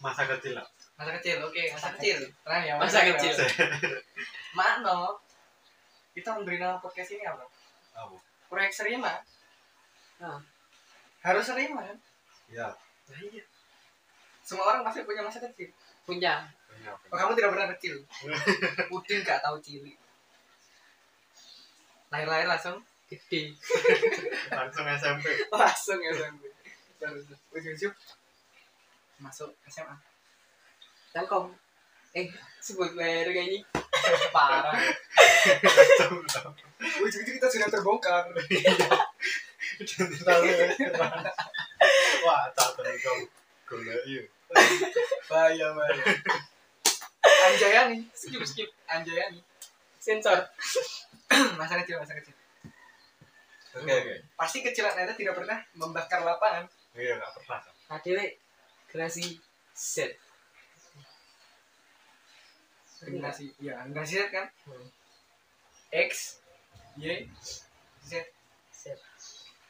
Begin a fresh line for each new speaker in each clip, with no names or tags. masa kecil lah
masa kecil oke masa kecil keren ya
Masa kecil.
makno kita memberi nama podcast ini apa
apa
proyek serima
Ah.
harus serima kan
ya
nah, iya semua orang pasti punya masa kecil
punya
punya
oh, kamu tidak pernah kecil udin gak tahu cilik lahir-lahir langsung
gede
langsung SMP
langsung ya SMP Baru- ujung-ujung masuk SMA
telkom eh sebut merek ini
parah ujung-ujung kita sudah terbongkar
tahu wah tak tahu kau gula iya
bahaya bahaya Anjayani
skip skip
Anjayani
sensor
masa kecil masa kecil
oke oke
pasti kecilan anda tidak pernah membakar lapangan
iya nggak pernah
adewe generasi Z
generasi ya generasi Z kan
Hmm.
X Y Z
Z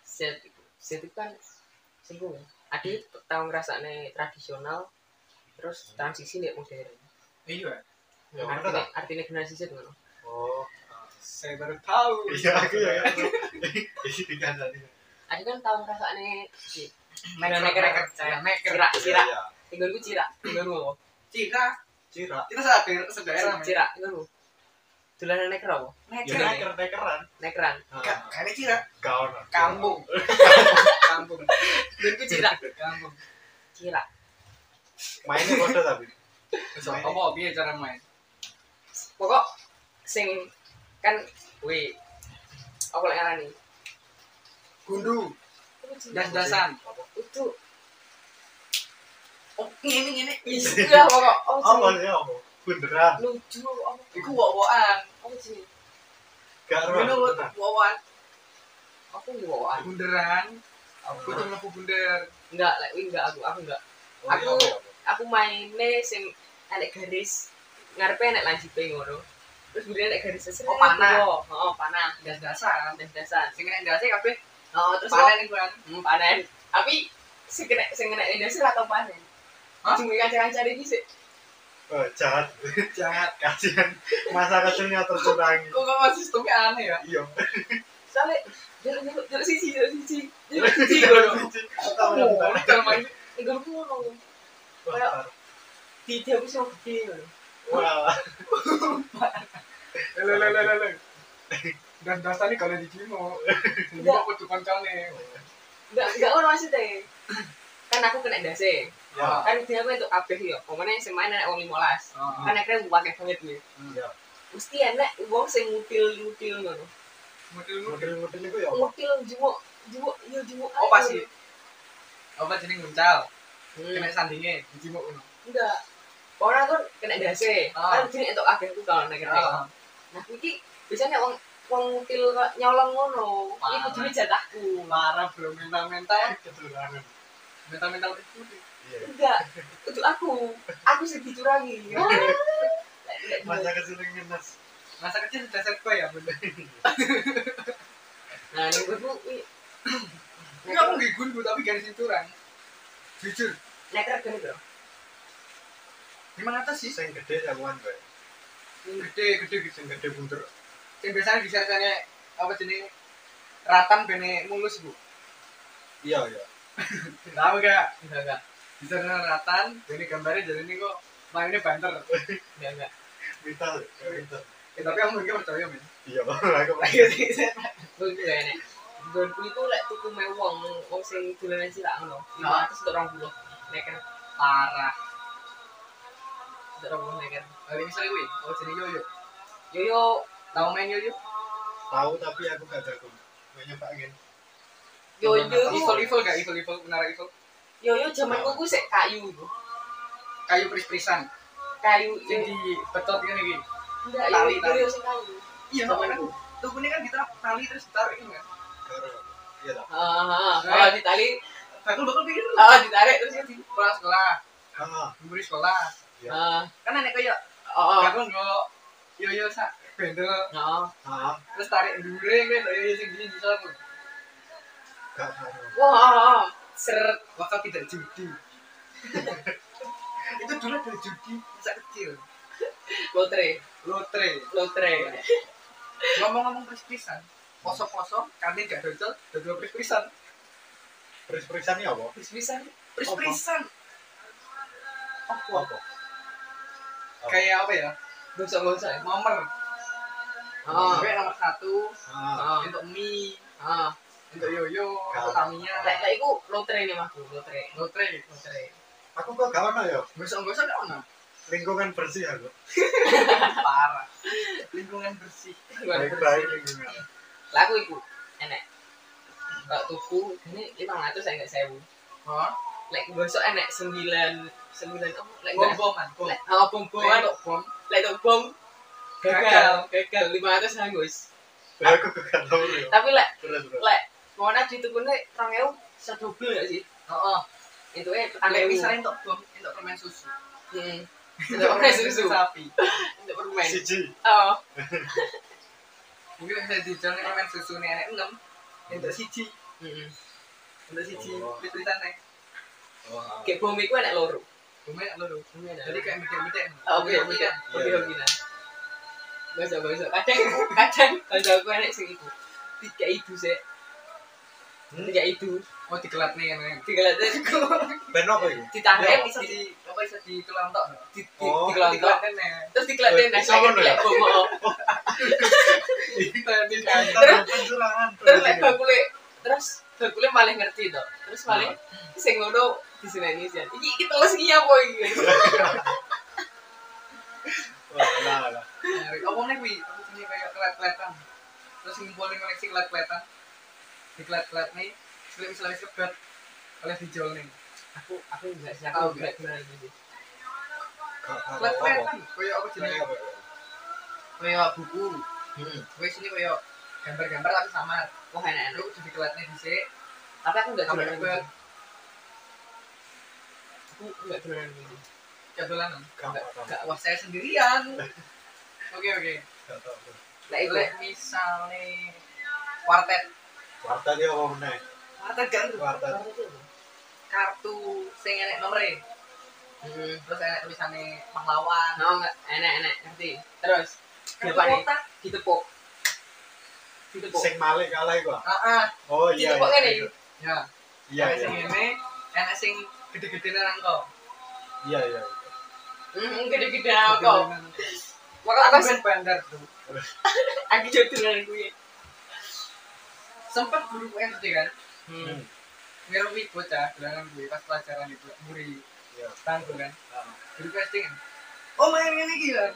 Z Z itu kan singgung ya ade tau ngrasakne tradisional terus transisi nek modern
iya
ya bener
artinya
tak
artinya generasi Z ngono
oh
saya baru tahu
iya aku ya ini kan tadi
ade kan tau ngrasakne
Maker,
Maker,
maker,
saya.
maker.
cirak
Iya,
cirak
iya.
tinggalku cirak tinggalku
Cira,
Cira.
kita sadar sedaya
apa cirak tinggalku dolanan nek rawo
Ya,
Maker,
neker, nekeran.
nekran
Ah,
Ka- Kayaknya Cira,
Kau, nah.
kampung, kampung,
dolanan cirak
kampung.
cirak
Mainnya bodoh tapi.
So, apa biar cara main?
pokok sing kan we apa lek ngarani
Gundu, das-dasan.
itu
Oh, ini ini.
istilah pokok
Apa
oh
sih apa? Bunderan.
lucu apa
Iku wok-wokan.
apa sih
Gak roh.
Ngono wok-
beneran.
wokan.
aku nggak
Bunderan,
Apa?
kudu mlebu bunder.
enggak lek we enggak aku aku enggak
Oh, iya,
Aku-
apa, apa?
aku mainnya sing enek garis ngarepe enek lanjuté ngono terus kemudian enek garis seseret
Oh, panah.
oh, oh panah
Das-dasan.
dan dasar
Sing kena ndase kabeh
oh terus
panen iku kan.
hmm, panen tapi sing kena sing kena Indonesia atau panen
Hah?
cuma kaca-kaca ini sih
Oh, jahat.
Jahat.
Kasihan. Masa kecilnya tercurangi.
Kok kok Oh, sistemnya aneh ya?
Iya.
soalnya jalur jalur jalur sisi jalur sisi jalur sisi
Iya,
ngono
cici. Tahu yang
Oh,
mana?
cara main tinggal ku ngono kayak-
Wah,
di dia bisa gede ngono
Wah,
Lho lho lho lho. Dan dasane kalau di Cimo. Di
Enggak.
kudu kancane.
enggak enggak ngono maksudnya kan aku kena dasi
ya.
kan dia aku untuk abeh ya pokoknya yang main anak wong 15 kan akhirnya gue pakai banget gue
Ya.
mesti anak wong sing ngutil ngutil ngono
Model-model.
Model-model itu ya apa?
ngutil jumuk jumuk iya jumuk
Oh, pasti. Apa jeneng nguncal?
Hmm,
Kena sandinge di Cimo ngono.
enggak orang kan kena dasi
Ah.
kan jadi untuk abeh aku kalau anak kena Nah, iki biasanya wong wong ngutil kok nyolong ngono. Iki
Parah.
kudune jatahku.
Marah bro mental-mental.
Kecurangan.
Mental-mental kecil.
Iya.
Enggak, untuk aku. Aku sing dicurangi.
Masa kecil yang ngenes.
Masa kecil sudah set ya, Bunda.
Nah, ning gue
Enggak mau gundu tapi garis cinturan. Jujur,
Neker gini, Bro.
500 sih.
Yang gede jagoan gue.
Gede, gede gitu.
Yang gede bunder.
yang biasanya disertanya apa jenis ratan bene mulus bu
Iya, iya.
tahu gak
Enggak, enggak.
disertanya ratan bene gambarnya jadi ini kok mainnya banter
Enggak, enggak.
Minta, minta.
ya, tapi aku mungkin percaya men
Iya, aku
lagi sih saya
Gue juga enek. Gonku itu lek tuku me wong wong sing dolanan cilak ngono.
Ah.
500 untuk 20. Neker
parah
kan? untuk 20 neker.
kali misalnya gue oh jadi yoyo
Yoyo
tahu main yoyo
tahu tapi aku gak jago. Gue nyoba angin.
Yoyo
evil
itu-
evil gak evil evil menara evil
yoyo zaman kuku sik kayu. Bro.
kayu peris perisan
Kayu
jadi betot kan ini
enggak
Tali,
yoyo
tali.
yoyo sing kayu.
iya
Zaman
kan
itu.
tuh ini kan kita tali terus ditaruh ini kan
Karo. Iya lah.
Ah, ah, ah, ditarik,
bakul bakul pikir dulu
ah, ditarik terus ya di
Iya sekolah sekolah
Ah,
memberi sekolah
Ah,
kan nenek kayak
oh, oh,
bakul nggak yoyo sak bendel
oh.
ah,
terus tarik dure kan oh iya sing gini bisa aku
gak karo.
Wah,
seret waktu tidak judi itu dulu dari judi masa kecil
Lotre,
lotre
lotre.
ngomong-ngomong pris-prisan poso-poso kantin gak dodol dodol pris-prisan
Peris-perisan ya apa?
Bisa-bisa.
pris-prisan
Apa? Apa?
kayak apa ya
Gosok-gosok.
nomor
Ah,
Kayak nomor satu
Ah,
ah,
untuk mie
ah.
untuk yoyo untuk
Kalau-
Lek
taminya
lek iku lotre nih Mas, lotre,
lotre
lotre.
aku kok gak ono ya
gosok-gosok gak ono
lingkungan bersih aku.
parah lingkungan bersih
Baik-baik lingkungan.
Lah aku iku enek. Kok tuku ini 500 saya enggak 1000.
oh
Lek gosok enek 9 9 oh lek
bom boman bom
lek oh bom-boman,
Untuk bom
lek tok bom gagal, gagal 500 hangus.
Lah, Aku kok gak tau ya.
Tapi lek
Terus terus.
lek mana ditukune 2000 sedobel gak sih?
oh oh
Itu eh
Ambil
aneh
misalnya untuk bom untuk permen susu
Heeh. Untuk Hmm. permen susu.
sapi
Untuk permen.
Siji.
Oh,
mungkin bisa dijual nih permen susu nih enak enam untuk siji
heeh.
untuk siji
Oh.
pris-prisan nih
Oh,
Kayak bom iku enek loro.
lumayan lho
Bom enek
jadi
loro.
kayak mikir-mikir
Oh, oke, oke,
Iya.
oke, oke, nah. Gosok, gosok. Kadang, kadang, gosok aku enak gitu. sing iku. Tiga ibu sih.
Hmm?
Tiga ibu.
oh digelat nih kan
Tiga latas iku.
Ben apa iku?
Ditangkep,
bisa
di-
di apa bisa di kelantok
di- di-
Iya. Oh.
dikelontok. Terus dikelaten
Eh,
nah,
bisa ngono
lek- lek
ya?
bomo.
Terus pencurangan.
Terus lek bakule, terus bakule malah ngerti to. Terus
Iya.
malah sing ngono diseneni sih. Iki iki teles iki apa iki?
Wah, lah, lah.
apa nih wi apa sih kayak kelet-keletan terus ngumpulin koleksi kelet-keletan di kelet-kelet nih misalnya misalnya sebat oleh dijual nih
Aku aku enggak sih
Tahu
aku enggak gimana gitu.
Gak- gak tau apa.
kelet-keletan kayak apa
Kayak
jenis
apa?
kayak buku
Hmm.
wis ini kayak gambar-gambar tapi samar
Wah enak-enak.
lu jadi keletnya di sini
Tapi aku enggak
Kamu
dolan gitu.
dapat.
Aku enggak dolan gitu.
jadolan
Gak- gak tau.
wah saya sendirian oke oke
Gak tau.
Lek iku
lek misalnya wartet
Warta dia apa meneh?
wartet kan
Warta.
kartu sing enek nomere
Hmm.
terus enek tulisannya pahlawan
Oh, enggak. enak enak ngerti. Terus
Kartu
Apa nih?
kotak.
ditepuk. Ditepuk.
Sing malik kalah iku. ah?
ah ah
Oh iya.
Ditepuk
iya,
ngene
iya.
iki.
ya
Iya
Enek
iya.
sing ini enek sing gede-gede nang kau
Iya iya.
Hmm, gede-gede
Nah,
kok. Maka aku
ben bandar tuh
aku ya. jodolan kuwi.
sempet guru SD kan
Hmm.
ngerupi bocah bilangan gue pas pelajaran itu muri
Iya.
tangguh kan
Ah.
guru SD kan oh main ini gila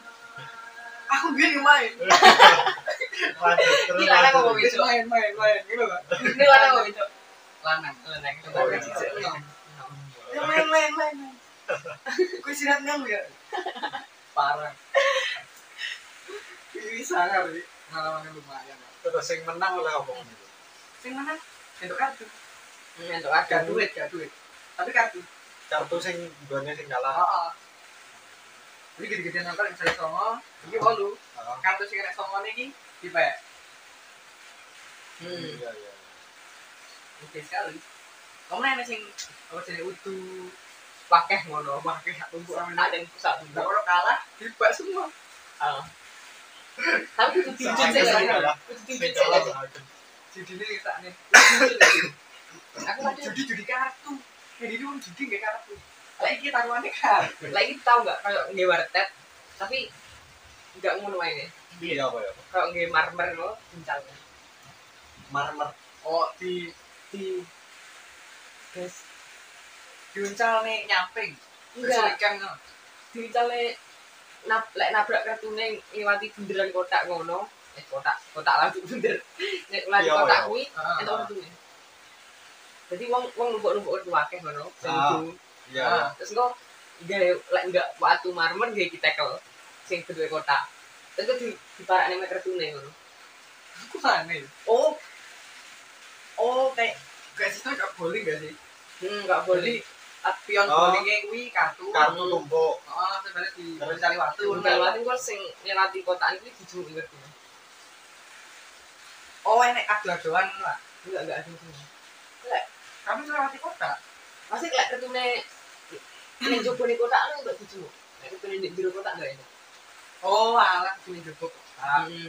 aku biar main
Lanjut terus.
Gila, aku
lanjut.
mau
Wis main main main gitu kan
Ini lanang kok itu.
lanang
Lanang.
Oh, iya.
Lanang. Ya, main main main main gue sirat nang ya parah ini sangar sih pengalamannya lumayan Pak.
Terus sing menang oleh apa? gitu?
sing mana untuk kartu
Hmm, Untuk aku.
gak duit gak duit tapi kartu
Kartu sing duane sing
oh,
Ah.
kalah.
oh. jadi gede-gedean nangkal yang saya songo ini walu
Ah.
kartu sing enak songo ini tipe
Hmm.
Iya iya.
oke sekali kamu nanya sing apa jadi utu
Pakeh ngono, pakeh untuk ada yang pusat.
gak perlu kalah tipe semua
Ah. Tapi itu dijun
Sing
sih
sing
kan.
kalah.
Itu
Sing
dijun sih
kalah.
kan.
lanjut.
jadi ini kita nih
Aku ada
judi judi kartu jadi itu judi gak kartu lagi taruhannya kan? kartu
lagi tahu nggak kalau nggak wartet, tapi nggak ngono ini.
Iya apa ya?
Kalau nggak marmer lo, bincang.
Marmer.
oh di
Di guys,
diuncal nih nyamping
enggak
keselikan no.
dicale nab, lek nabrak kartune ngliwati bunderan kotak ngono. Eh kotak, kotak lagi bunder. Nek lagi
Iya,
kotak
iya.
kuwi
Ah,
Entuk untungnya. Jadi wong wong numpuk-numpuk itu akeh ngono. sing
Ah.
itu.
Iya.
Ah.
Terus engko gawe lek enggak watu marmer gawe kitekel sing bentuke kotak. Terus itu di diparakne meter tune ngono.
aku mana ya
Oh. Oh, kayak
kayak sistem kayak bowling gak sih
hmm enggak boleh.
at pion
Oh.
bowlingnya kuwi kartu
Kartu tumpuk.
oh sebenarnya di mencari waktu
Tuh,
Enggak.
lewati kok sing lewati kotakan iki dijumuk inget.
oh enek adu-aduan lah
Enggak enggak ada tune.
kami melewati kota
Masih lek kartune Ning jopo ning kotak lho mbak dijemuk. Nek kene ning jero kotak enggak enak.
Oh, alah sini jebuk.
Iya.
Ah,
Heeh.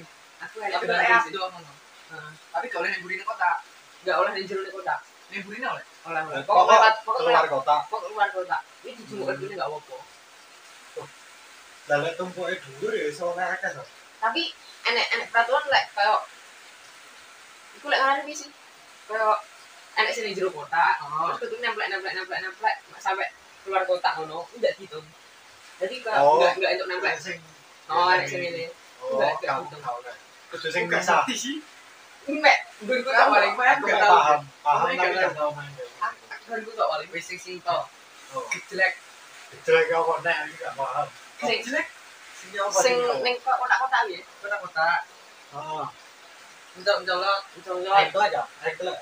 Iya. Aku enak
Tapi kalau
banget.
es
sih.
doang ngono.
Heeh.
Tapi kalau yang buri kota,
Enggak oleh ning jero ning kotak.
yang buri oleh.
Oleh oleh.
Nah,
Pokok lewat
Pokok
pokok
keluar
lewat
kota.
pokok luar kotak. Ini dijemuk
Hmm.
kan enggak apa-apa.
Dalam tumpuknya dhuwur ya iso ngakeh to.
Tapi enek-enek peraturan lek kayak Iku lek ngarep iki sih. Kayak enek sini jero kotak.
Oh.
Terus kudu nemplek nemplek nemplek nemplek sampai keluar kotak ngono. Enggak gitu. Jadi kalau
Oh.
enggak enggak untuk nemplek.
Sing-
Oh, enek sing ngene.
Oh,
Enggak, enggak
kamu
gitu.
tahu kan. Kudu sing
Bukan
misah.
ngerti sih.
Mek, gue gue tak
Aku paling
paling
main
Aku
gak
gak
tahu.
paham, paham
Tapi
tapi
gak
gak tau main.
Aku kan gue tak paling wis sing sing tok.
Oh,
Jelek.
jelek apa nek aku gak paham.
Sing-
Jelek.
Sing apa
sing
sing-
ning kotak-kotak ya.
Kota kota.
Ah,
Untuk mencolok.
Misalnya
itu aja. Itu lah.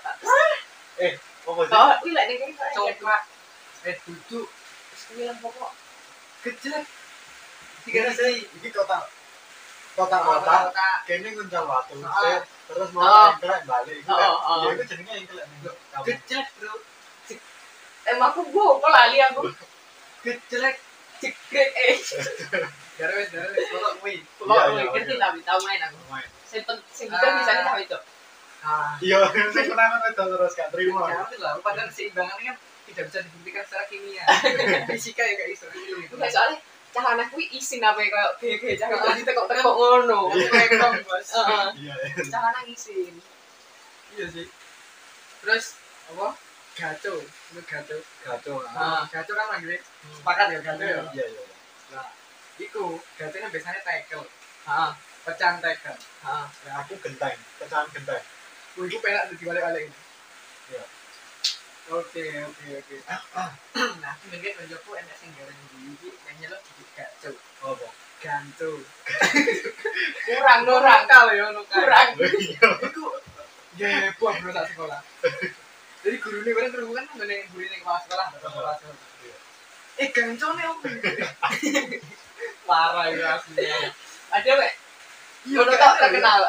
Eh, apa sih?
Oh, kuwi lek ning kene kok enek.
Coklat. Eh duduk.
Terus kuwi lan pokok.
Kejelek.
Tiga Iya,
Tiga
sih, ini kota kota kota.
kota. kota.
Kene nguncal watu,
Ah.
set, terus
Oh.
mau engkelek balik. Iku
Oh,
kan-
oh.
Ya itu jenenge engkelek nih. Kamu.
Kejelek bro.
Emang aku gua kok lali aku
Kejelek.
cegrek eh.
Garwes garwes. Kalau kui.
Kok
Iya, iya,
oh, ngerti
iya.
tapi tau main aku.
Main.
Sing pen- sing penting
Ah.
bisa nih tau itu.
Ah.
Iya, sing menangan wedal terus gak terima.
Ya, itu lah. Padahal seimbangannya kan tidak bisa dibuktikan secara kimia. Fisika ya gak bisa. Itu
Enggak soalnya cahana kuwi isin apa kayak gede cahana ditekok-tekok ngono.
Iya. Rekong bos.
Heeh.
Iya.
Cahana isin.
Iya sih. Terus apa? Gaco, itu gaco.
Kacau. ah.
Nah, gaco kan manggilnya sepakat ya gaco ya.
Iya, iya. iya.
Nah, iku gaconya biasanya tackle, Ah.
Heeh.
pecahan tackle.
Heeh.
Ya, aku genteng, pecahan genteng.
Wih, iku penak tuh dibalik-balik ini.
Iya.
Oke, oke, oke. Nah, aku mungkin menjawabku enak sing garing dulu iki, kayaknya lo jadi gaco.
Oh, apa?
Ganto.
Kurang kurang
Nokal ya, nokal.
kurang.
Iya.
Iku ya buah bro tak sekolah. Jadi guru ini kan guru kan nggak nih guru ini kepala sekolah, kepala sekolah.
Iya.
Eh gancon ya om.
Parah ya aslinya. Ada wek.
Iya
Ngono tak terkenal.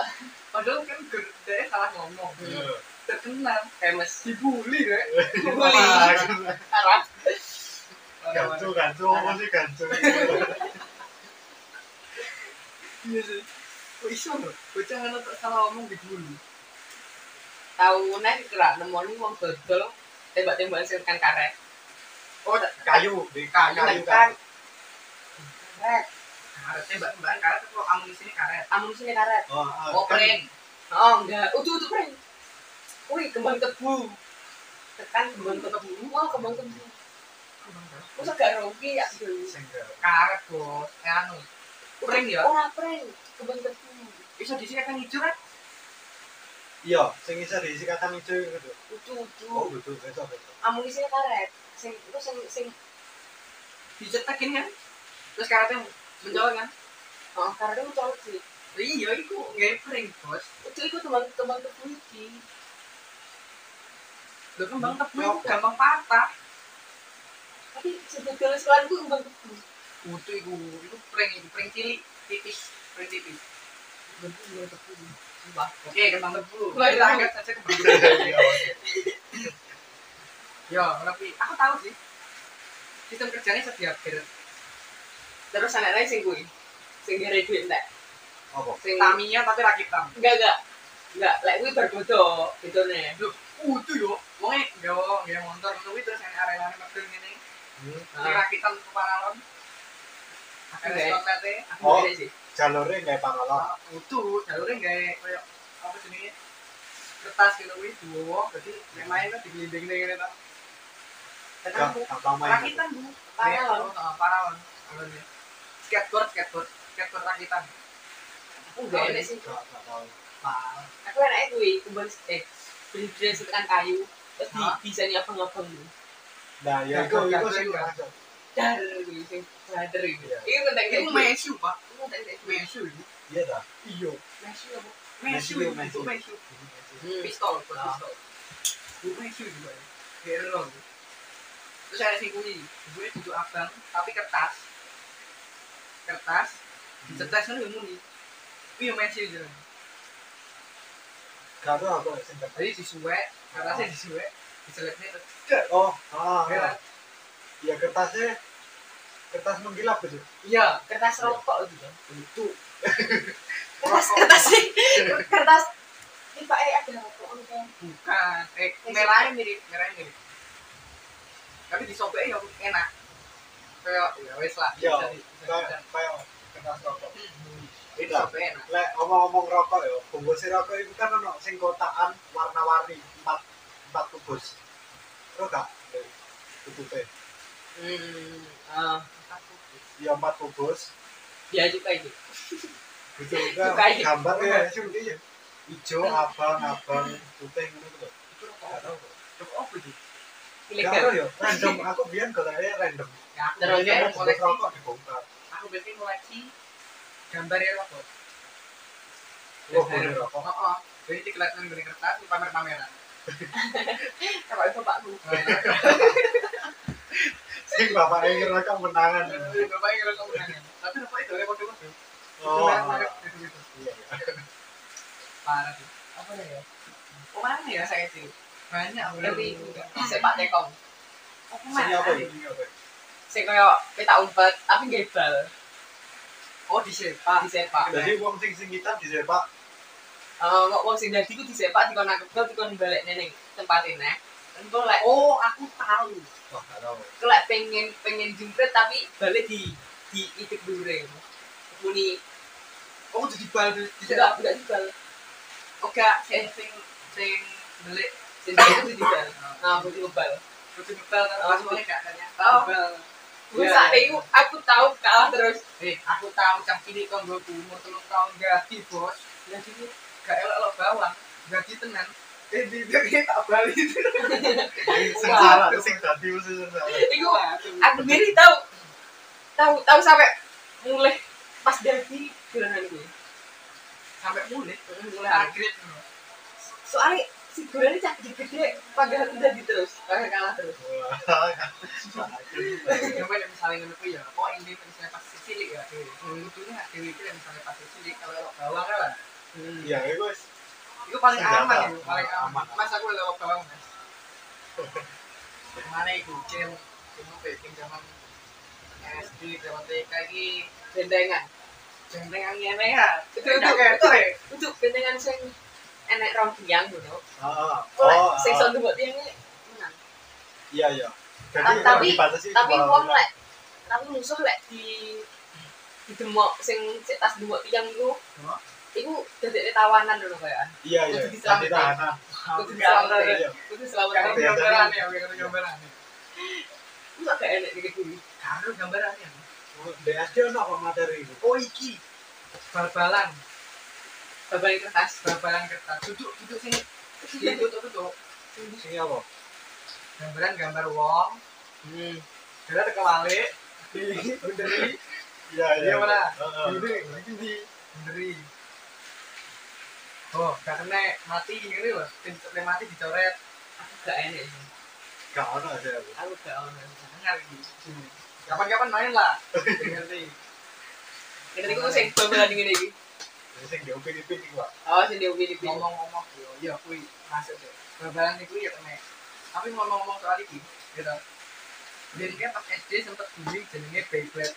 Padahal kan guru dia salah ngomong.
Iya.
Terkenal. Eh,
Famous.
Dibully ya.
Bully. Parah.
Gancu, gancu, apa sih gancu?
Iya sih. Kok iso bro? Bocah kan tak salah ngomong dibully.
tahu nih kira nemoni wong dodol tembak-tembakan sing kan karet
Oh, kayu, di kayu, kayu.
Tekan.
Karet. Karet mbak mbak karet kok amunisi ini karet.
amunisinya karet
Oh, ah,
Oh
kan-
keren.
oh enggak utuh utuh keren wih kembang tebu tekan kembang tebu wah kembang tebu masa gak rogi ya
Sing gawe.
Karet bos. Eh anu. Kering ya.
orang keren kembang tebu
Bisa disini kan hijau kan?
Iya, sing isih diisi kata hijau itu. gitu.
utuh
Oh, betul,
utuh
betul, betul.
amunisinya karet sing itu sing sing
Dicetakin kan? Terus karetnya mencolok kan?
oh karetnya itu colok sih
Iya, itu nggak kering bos.
itu itu kembang kembang tebu iki
Lo kembang tebu itu gampang patah.
tapi sebetulnya sekolah gue kembang tebu
Kutu itu, itu pring, itu pring cilik, tipis, pring tipis.
kembang tebu kembang tebu wah
Oke, kembang tebu.
Wah,
Kita angkat saja kembang tebu.
Iya, oke.
Ya, tapi aku tahu sih. Sistem kerjanya setiap hari.
terus anak-anak sing gue sing gara duit entek
Apa?
sing
Taminya tapi rakit tam.
Enggak, enggak. Enggak, lek kuwi berbodo bedone.
Kutu yo, wongnya yo, yo motor kutu terus yang arena ini mesin ini,
Hmm.
ini
Iya. Nah,
rakitan kepanalan. Akan
Oke.
skotlete,
Aku
Oh.
ngene sih.
Jalurnya nggak pangolong.
kutu, jalurnya nggak kayak apa jenisnya kertas gitu wih dua jadi yang lain kan digelinding nih gitu
Gak,
tapi
gampang main.
rakitan bu Oh,
Paralon.
paralon alon ya skateboard skateboard skateboard rakitan
Aku enggak enek sih.
Gak, gak tahu.
paralon
Aku enake kuwi kumpul eh beli dress tekan kayu terus di
Hah?
desainnya abang-abang gitu.
Nah, ya itu,
Gak, gak,
itu sih.
gak.
gak.
Dar kuwi sing brother iki.
Iya.
Iki penting kayak
itu
gitu.
mesu pak
Iku penting kayak gitu.
mesu itu
Iya, dah.
iyo
Mesu apa?
mesu
Mesu,
itu
mesu.
mesu
Hmm.
pistol bukan
Ah.
pistol Bu, mesu juga ya kayak error terus ada si kui gue duduk abang tapi kertas kertas dicetas kan yang muni iya mesu jalan
Gak tahu aku sing gak-
jadi disuwek, kertasnya disuwek, dicelupnya terus
Oh, ah, ah.
ya,
ya kertasnya kertas mengkilap gitu
Iya,
kertas rokok gitu
kan?
itu
kertas kertas sih kertas ini pak eh ada rokok gitu
kan.
bukan. Eh, merahnya mirip, merahnya mirip. Tapi disobeknya ya enak. Kayak ya wes lah.
Iya.
bisa di- bisa
kayak
dimakan.
kayak kertas rokok
Hmm,
itu
disobeknya enak.
lek ngomong-ngomong rokok ya bungkus rokok itu kan ono sing kotakan warna-warni empat empat bungkus terus gak tutupnya
Hmm, ah,
ya empat bungkus
dia juga itu.
gitu kan
Suka.
gambar ya iya hijau abang abang putih gitu
Itu rokok
gak
apa?
tau
Rokok apa sih?
gak
Ilegal.
tau ya random aku biar kayaknya random
Ya, aku
Terus
biasanya
Biyen
ya,
bungkus
koleksi,
Nah, Iya, rokok dibongkar
aku biasanya koleksi gambarnya rokok.
Wah, boleh rokok
Oh, oh. Jadi dikeliatan dari kertas, di pamer-pameran.
kalau itu pak lu
Nah, ya.
sing bapak yang ngerokok menangan
Iya,
Bapaknya kalau kamu nanya. Tapi rokok itu ada kode-kode.
oh
Gitu-gitu.
iya
gitu. Parah sih.
apa ya
Kemana ya saya itu? Banyak
Tapi-
Sepak tekong.
aku
sing
mana
apa ya Sing apa ya?
Sing koyo petak umpet tapi nggih bal.
Oh di sepak.
Di sepak.
jadi wong sing sing hitam disepak
Eh, kok wong sing dadi ku disepak dikon nangkep gol dikon balik neneng tempatin neh. Engko Kan lek
Oh aku tahu.
wah gak tau
engko lek pengen pengen jumpret tapi balik di di itik dure. Muni
Oh jadi bal di di sepak.
enggak enggak dibal.
Oke, sing sing sing belik.
Sing itu dibal. Nah,
Nah,
aku dibal.
terus dibal kan
Oh.
langsung oleh gak tanya.
Oh.
Dibal. Iya.
Gue saat itu aku tahu kalah terus.
Eh, aku tahu cang cilik kon gue umur telung tahun ganti, Bos. Jadi ini gak elok lo bawang, ganti tenan. Eh, di dia tak balik.
Iya.
sing salah sing dadi mesti sing salah
Iku aku sendiri tahu tahu tahu sampai mulai pas dari gerakan gue.
sampai mulai. Nah,
Mulai
Mulai
aku.
agret.
Soalnya si gorengnya cantik gede, padahal udah di terus, padahal kalah terus.
wah sakit.
Coba nek misalnya ngono kuwi ya, kok ini misalnya pas cilik ya. Untungnya dewe iki nek misalnya pas cilik kalau elok bawang kan. lah.
iya itu wes
Itu paling
Senjata.
aman itu, paling aman.
Aman.
Mas aku lewat bawang mas. Mana itu game, game apa ya? Game zaman SD, zaman TK ini
Bentengan.
jentengan ngene ya.
Itu
Itu
untuk
kayak itu ya.
untuk bentengan sing enek rong tiang ngono.
Ah,
Oh,
oh,
sing
ah,
sono mbok tiangnya menang.
iya iya.
Ah, tapi-
dibatasi ya.
Tapi
dua
wong
orang.
lek tapi musuh lek di di demok sing sik tas dua tiang iku.
Hah?
Iku dadekne tawanan ngono kaya.
Iya iya.
Kudu diselamatkan.
Jadi tahanan.
Kudu diselamatin.
Iya.
Kudu
Kayak
diselamatin.
Iya.
gambaran ya, kayak gambaran ya.
Iku sak gak enek iki kuwi.
Karo gambaran ya.
BSD ono apa materi itu?
Oh iki bal-balan,
Babane kertas.
bal-balan kertas. Duduk, duduk sini. Duduk, duduk.
Sing apa?
Gambaran gambar wong,
Hmm.
Dia kebalik, benderi,
Iya
Iya, mana?
Heeh.
benderi, benderi, benderi. Oh, gak kena mati ini loh, kena mati dicoret.
Aku gak ya. enek. iki.
Gak ono sih aku.
Aku gak ono.
Sangar gitu. Kapan-kapan main lah. Ngerti.
Ngene iku sing babane ngene iki.
Ini Sing diupin-upin iki, Pak.
Oh, sing diumpil-umpil.
Ngomong-ngomong yo, iya kui masuk deh. Babalan itu ya kena. Tapi ngomong-ngomong soal ini, gitu. Jadi kan pas SD sempet beli jenenge Beyblade.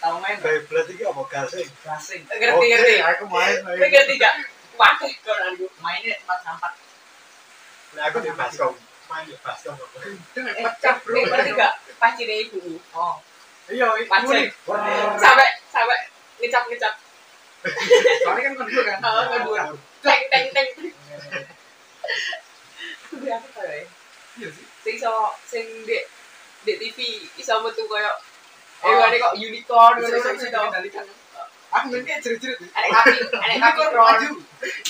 Tahu main nggak?
Beyblade iki apa gasing?
Gasing.
Ngerti
Oke,
ngerti.
Aku main. main.
Kowe ngerti gak? Waduh, koran aku.
Mainnya empat sampat.
Nah, aku di baskom. Main di baskom. apa?
Dengan
Eh,
pecah bro.
eh, ngerti gak? Pacine ibu.
Oh. Iya,
Pacin.
itu.
Sampai sampai ngecap-ngecap.
Soalnya kan kedua kan.
Oh, kedua. Teng teng teng. Aku bilang apa ya?
Iya sih.
Sing so sing di di TV iso metu koyo
Oh.
Eh, ini kok unicorn gitu.
Bisa bisa
ngono sing
bisa
sido.
dikendalikan. Aku ya, nanti jerit-jerit.
Anek kapi, anek kapi kron.
maju.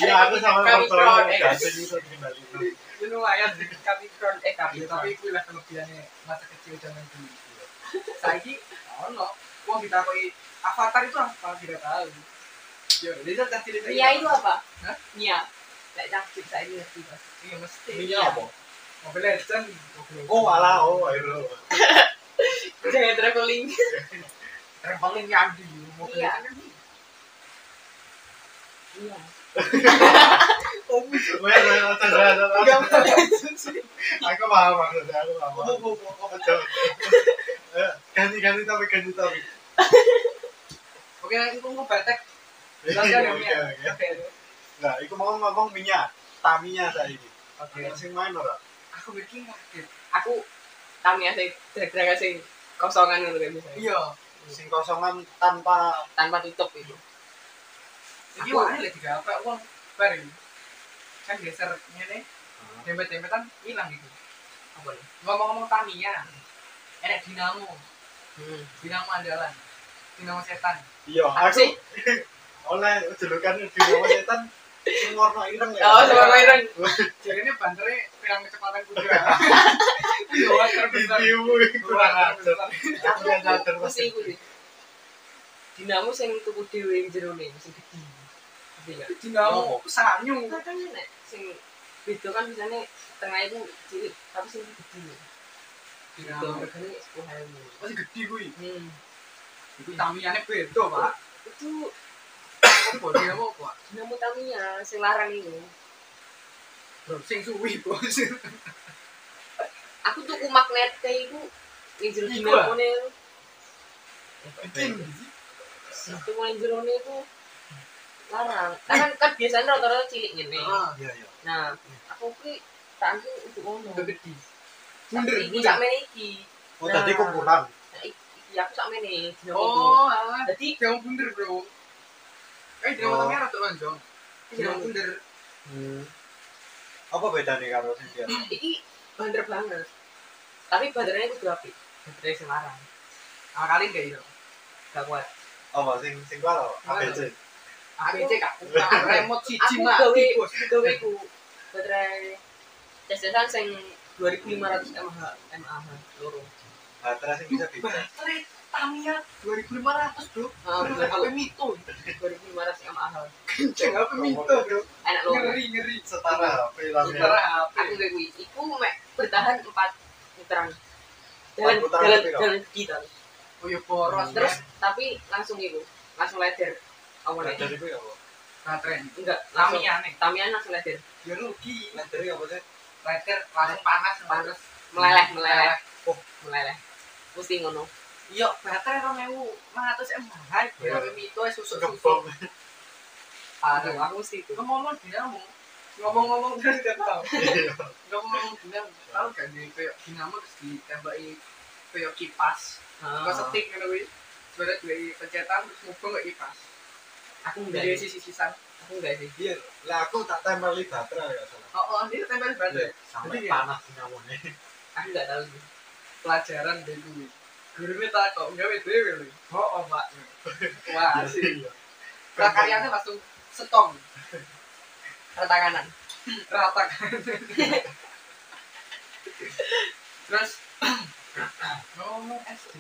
Iya, aku sama
Kami
kontrol
crowd, eh.
gasing itu dikendalikan.
Itu lumayan sih.
Kapi kron eh kapi
Ya,
tapi
tapi itu lah kelebihannya masa kecil zaman dulu. Saiki ono wong ditakoni avatar itu apa tidak tahu. Iya, Yo, dia tak cerita.
Mia Iya, itu apa?
Hah?
Mia. Tak cakep saya ini ngerti Mas.
Iya mesti.
Ini apa?
Mobile Legend.
Oh, alah, oh, ayo.
Jangan traveling.
Traveling yang di Mobile
Iya.
Legend.
Iya.
opo
Wes, wes, wes, wes, wes.
enggak maksud sih.
Aku paham maksudnya, aku paham.
Opo opo opo.
Betul, betul. Eh, Ganti ganti tapi ganti tapi.
Oke, nah, itu mau praktek.
Iya,
Jelaskan
iya,
ya.
iya.
Oke.
Nah, iku mau ngomong minyak, taminya saya ini.
Oke.
Sing main ora?
Aku bikin kaget.
aku tamnya sih draga sing kosongan gitu kayak misalnya
Iya.
Sing kosongan tanpa
tanpa tutup itu
Jadi
Aku-
wah lagi apa uang bareng. Kan geser ngene, dempet-dempetan hilang gitu.
apa nih
Ngomong-ngomong Tamiya, enak dinamo,
hmm.
dinamo andalan, dinamo setan.
Iya,
apa
aku
sih
oleh julukan dinamo setan sing warna ireng ya.
oh sama Iron
Jadi ini banternya hilang kecepatan kuda. Iya, wah, terbesar.
Bibimu kurang
Wah,
ajar.
terbesar.
Aku yang ajar
aku sih aku sih dinamo sing tuku dhewe yang jero nih sing gede Ngerti nggak?
Dinamo sanyu.
Kadang nek sing beda kan biasanya tengah itu cilik tapi sing gede itu
Dinamo.
harganya sepuluh ribu
Masih gede kuwi.
hmm.
Iku Tamiya beda, Pak.
itu
Apa dinamo apa?
dinamo Tamiya sing larang itu
Bro, sing suwi, Bos.
aku tuku magnet kayak iku yang jero
Iku
dinamo nih
Gede.
tuku yang jero nih itu larang kan kan biasanya rata-rata cilik gini
Ah,
Iya, iya.
nah aku ki tak aku untuk ngono
udah gede. Bunder,
tapi iki
bunder.
sak iki
Oh, tadi kumpulan.
Nah, iki iki aku sak mene
Oh, alah.
jadi
Jangan bunder, bro. Eh, jangan
Oh.
mata merah tuh, Lonjong. Jangan
Iya.
bunder.
Hmm. Apa bedanya karo sing biasa?
iki bander banget tapi bandernya itu berapa bandernya sing larang
Nah, kali enggak, iya.
gak kuat
Apa Oh, sing sing karo? ABC.
Aku
Aku-
cek, aku tak remote cici,
aku
Mak.
gawe
Bos.
gawe ku bandernya cesetan sing 2500 mAh mAh loro
Baterai sing bisa di
Baterai Tamiya 2500, bro.
Ah,
Bener,
betul.
HP Mito.
2500 mAh
Kenceng, HP Mito, bro.
enak loro
Ngeri, ngeri.
setara HP
Setara
lamnya.
HP.
aku gawe kuwi iku mek bertahan 4 meteran jalan
Empat putaran
jalan
tapi kok.
jalan gitu
Oh, ya, boros.
terus tapi langsung iku langsung leder awalnya
Baterai itu ya apa?
Baterai.
enggak langsung
Tamiya, nih.
tamian langsung leder
Ya, rugi.
Baterai apa sih?
Baterai langsung panas,
Panas. meleleh
Hmm,
meleleh
Oh.
meleleh mesti ngono
Iya, baterai 2500 mAh.
Iya.
HP Mito, eh, susuk-susuk.
Gebong.
aduh aku mesti itu
ngomong dinamo ngomong-ngomong terus gak tau
Iya.
ngomong dinamo tau gak nih kayak dinamo terus ditembaki kayak kipas
Ah,
nggak setik gitu wih sebenarnya dari pencetan terus ngumpul ke kipas
aku enggak
dari
sih
sisi sisan
aku enggak sih
Iya, lah aku tak tempeli baterai ya salah.
oh oh dia tempel
Iya,
baterai
Sampai
Iya.
panas dinamone.
aku enggak tahu sih
pelajaran dari gue gurunya tak kok nggak wih dewe wih oh oh pak
Iya.
wah asik karyanya langsung setong
rata kanan
rata kan terus ngomong SD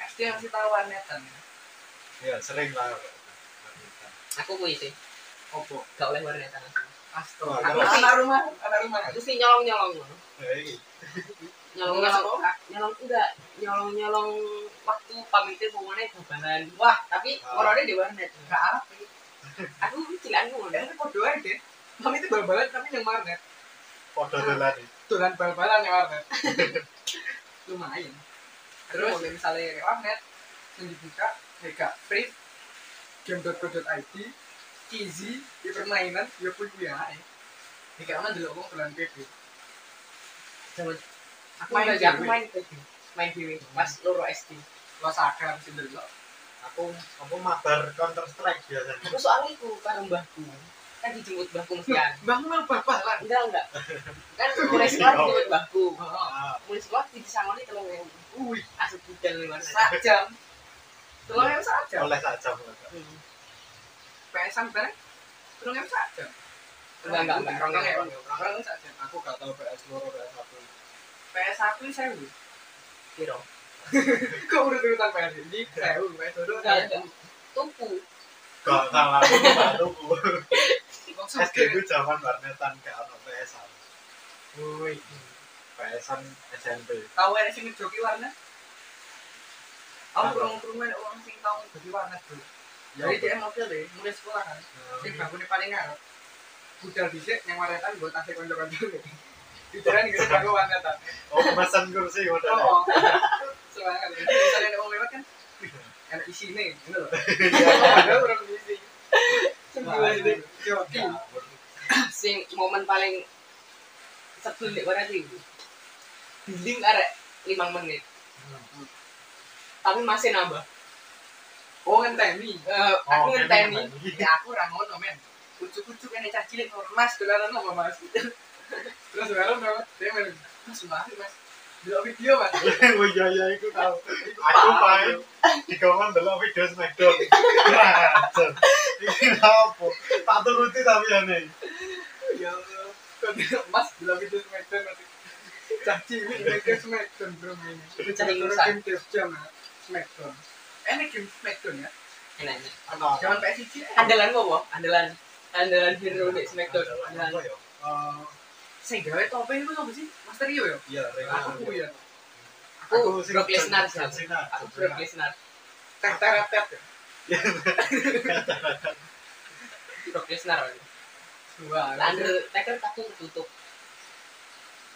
SD yang kita warnetan ya
Iya, sering lah.
aku kuwi sih
opo
enggak oleh warna tangan
astro
Anak-
anak rumah anak rumah
aku sih nyolong nyolong ngono
Ya iki.
nyolong
Nggak
nyolong
sekolah
nyolong enggak nyolong nyolong waktu pamitnya pokoknya bubaran wah tapi
Ah.
orangnya di warnet
nggak apa
aku cilan ngono
ini podo aja deh kami itu bal-balan tapi yang warnet
Padha dolan.
tulan bal-balan yang warnet lumayan terus kalau misalnya yang warnet yang dibuka mega free game.co.id easy di permainan ya pun ya ini karena dulu aku tulan PP
Jaman- aku
Main
enggak sih aku
dewe.
main dewe. main dewe pas loro SD
lo sadar sih dulu
Aku aku mabar Counter Strike biasanya.
aku soalnya aku karo mbahku kan dijemput mbahku mestian
bang mau bal-balan
enggak enggak kan mulai sekolah dijemput mbahku
oh
Ah,
mulai sekolah di sangoni telung ewu
wih
asal budal di warnet
sak jam telur yang sak jam
oleh sak jam.
Hmm.
PSan bareng telur yang sak jam
Enggak, enggak, enggak.
Telung ewu, telung ewu sak jam.
Aku gak tau PS loro PS satu.
PS satu ini sewu
piro
kok urut urutan PS ini sewu PS dulu
Enggak, enggak. tuku
Gak salah aku
kok
SD
sakit
ku zaman warnetan gak ono PS.
wih
PSan SMP.
tahu ada sing ngejoki warna Aku kurang kurungan orang sing tahu
Iya.
ngejoki warna bro. Jadi dia mobil deh, mulai sekolah kan. Sing bangunnya paling ngarep. budal dhisik yang waretan buat tasik kanca-kanca. Pikiran iki kanggo waretan.
oh kemasan kursi udah
Oh. Semangat. Misalnya ada orang lewat kan enak isi nih, gitu loh. Ada orang isi. Nah, ini, joki.
Ya
sing momen paling sebel di korea itu dinding arek lima menit tapi masih nambah
Oh, ngenteni.
Eh,
Oh,
aku ngenteni
Ya aku ora ngono, men. Ucuk-ucuk ini cah cilik ngono, Mas, dolanan apa, Mas? Terus dolanan apa? Dia men, Mas, mari, Mas. Delok video, Mas.
oh iya iya aku tahu
Iku
aku main
parah, bro.
di kamar dulu video smackdown Racun. ini apa tak turuti tapi aneh
Ya Allah. Kok delok Mas delok video Smackdown, Mas. Cah cilik video Smackdown, Bro, mainnya.
Bocah
Terus
ingusan.
game Dev Jam, Mas. Smackdown. Enak game Smackdown ya.
enak-enak
anak
Jangan PSG. eh.
andalan apa? andalan andalan hero di smackdown
Apa
andalan
ya?
Eh, sing gawe topeng itu apa sih? Mas Rio ya?
iya Rena.
Aku ya.
aku
sing
Oh, Brock Lesnar
John
Sam.
Cena.
aku Brock Lesnar
Tet teret tet.
Brock Lesnar aku.
Dua.
Undertaker kadang tertutup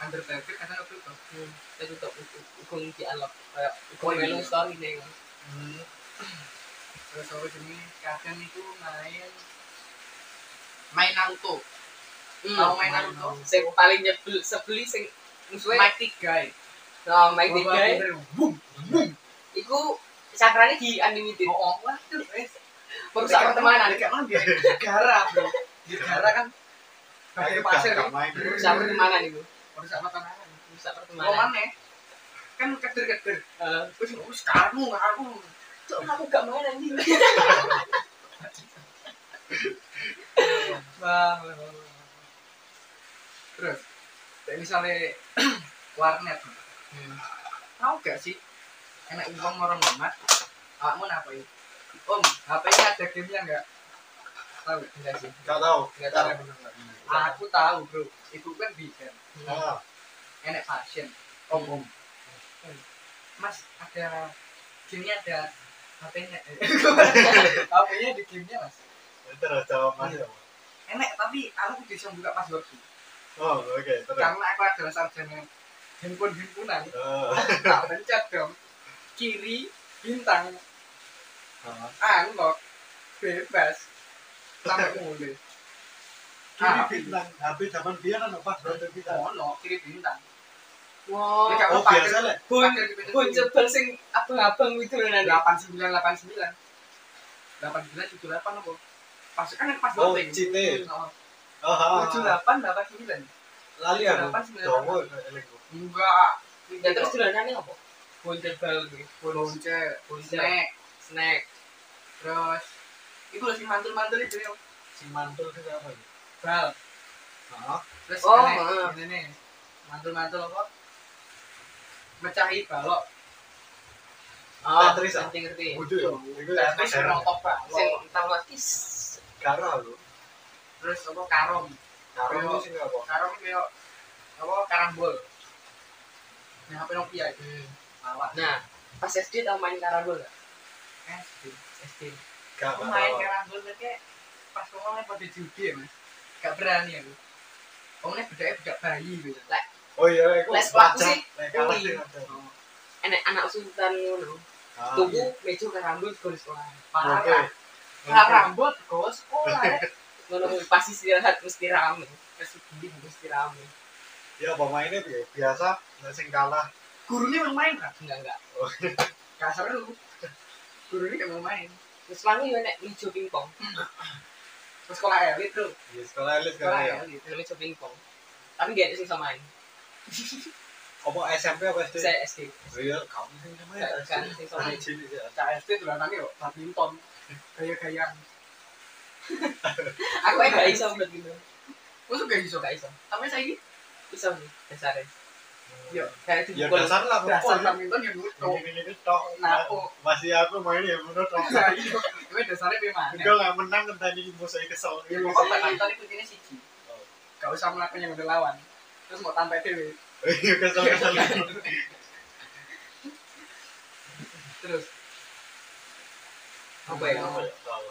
Undertaker kadang aku tuh.
Hmm, tertutup gung dialog kayak gung melu story nih
Hmm.
Terus aku sini kadang itu main main Naruto. Tahu main Naruto?
sing paling nyebel sebeli sing musuhnya
Mighty Guy.
nah Mike the
Bawa
Guy
bener, Boom.
Iku sakrane di unlimited.
Oh, wah, tuh, eh,
Merusak pertemanan.
Dekat mana dia? Gara, bro. Dia gara kan. Kayak
Kayak
pasir
gak
kan.
main.
Merusak pertemanan iku.
Merusak pertemanan.
Merusak
Mau
pertemanan.
mana? Kan keder-keder.
Eh,
Terus ngurus karmu, karmu.
Cuk, aku gak main anjing.
Wah, wah, wah, wah. Terus, kayak misalnya warnet, Hmm. tahu gak sih? Enak uang orang lemah, awakmu apa itu? Om, HP nya ada gamenya nggak? Tahu nggak?
Enggak sih.
Gak tahu.
Nggak tahu. Aku tahu bro, itu kan bidan,
Ah,
enak pasien, om om. Mas ada gamenya ada HP-nya, HP-nya di gamenya mas.
terus jawabannya.
Enak tapi aku bisa buka passwordku.
Oh, oke, terus.
karena aku adalah sarjana handphone himpunan
Ah.
tak pencet dong kiri bintang
Ah.
unlock bebas sampai
Kiri
mulai Ah.
bintang, habis zaman dia kan apa? Berarti kita.
ono kiri bintang
Wow.
Ini kamu
Oh,
pakai-
biasa lah.
Bun,
pakai di
bun jebel sing abang-abang itu lho nanti.
delapan sembilan delapan sembilan delapan sembilan tujuh delapan apa pas kan yang pas
Oh,
boteng.
cite.
Oh,
Ah,
tujuh delapan delapan sembilan
lali aku.
delapan, sembilan,
Dongo, elingku.
enggak
Ya terus dolanane apa? Bun jebel kuwi.
boncel
Boncel.
snack
Snack.
terus itu loh si mantul mantul itu yang
Si mantul itu apa? ya?
bal
Ah,
terus
Oh,
aneh,
heeh.
ini nih mantul-mantul apa mecahi balok
Ah,
Tetris, ah?
ngerti-ngerti.
bodoh ya. Iku ya,
terus
modern.
merotok
Sing
balok
tau lagi.
Karo lho.
terus apa karom
Karo
Yo.
itu sing apa?
karom kayak apa karambol yang HP Nokia itu
Hmm.
balok
Nah, pas SD tau main karambol gak?
eh
SD.
Gak
aku
gak
main
tahu.
karambol tapi pas ngomongnya pada judi ya mas gak berani aku ngomongnya bedanya bedak bayi gitu
Oh iya, iku
Les pelaku
wajar.
sih.
Lek kalah
Ui.
sih wajar.
Enek anak sultan ngono.
Ah,
Tuku
iya.
meja karambol gol sekolah.
Oke.
parah
Oke.
karambol ke sekolah ya
ngono kuwi pas istirahat mesti rame pas sedih mesti rame
Ya pemainnya bi- biasa, nah, sing kalah.
gurunya yang main kan
enggak enggak
gak seru gurunya gak mau main
terus lagi yo nek meja pingpong
Ke sekolah elit tuh
Di sekolah elit kan
Sekolah
ya.
elit.
terus Iya, meja pingpong tapi gak ada sing samain
Apa SMP apa SD?
saya SD
Iya, kamu sing sama ya.
Gak- gak ada sing samain
Cilik ya.
Cak SD tulanannya yuk badminton gaya-gayaan
aku ae gak iso buat gitu
Masuk gak iso
gak iso
Tapi saya ini
iso sih dasare
Yo,
kayak
Ya
dipukul
dasar lah pokoknya.
dasar badminton ya, yang nutup
Ini-ini tok.
Napo
Masih aku main ya menurut aku.
Nah iya Gue dasarnya bagaimana
Udah lah menang tadi ibu saya kesel.
Ya
Ibu
pokoknya
saya-
badminton itu kuncinya siji Gak usah melakukan yang udah lawan Terus mau tampil dewe
Iya kesel kesel.
Terus
apa ya
Apa ya? Salah.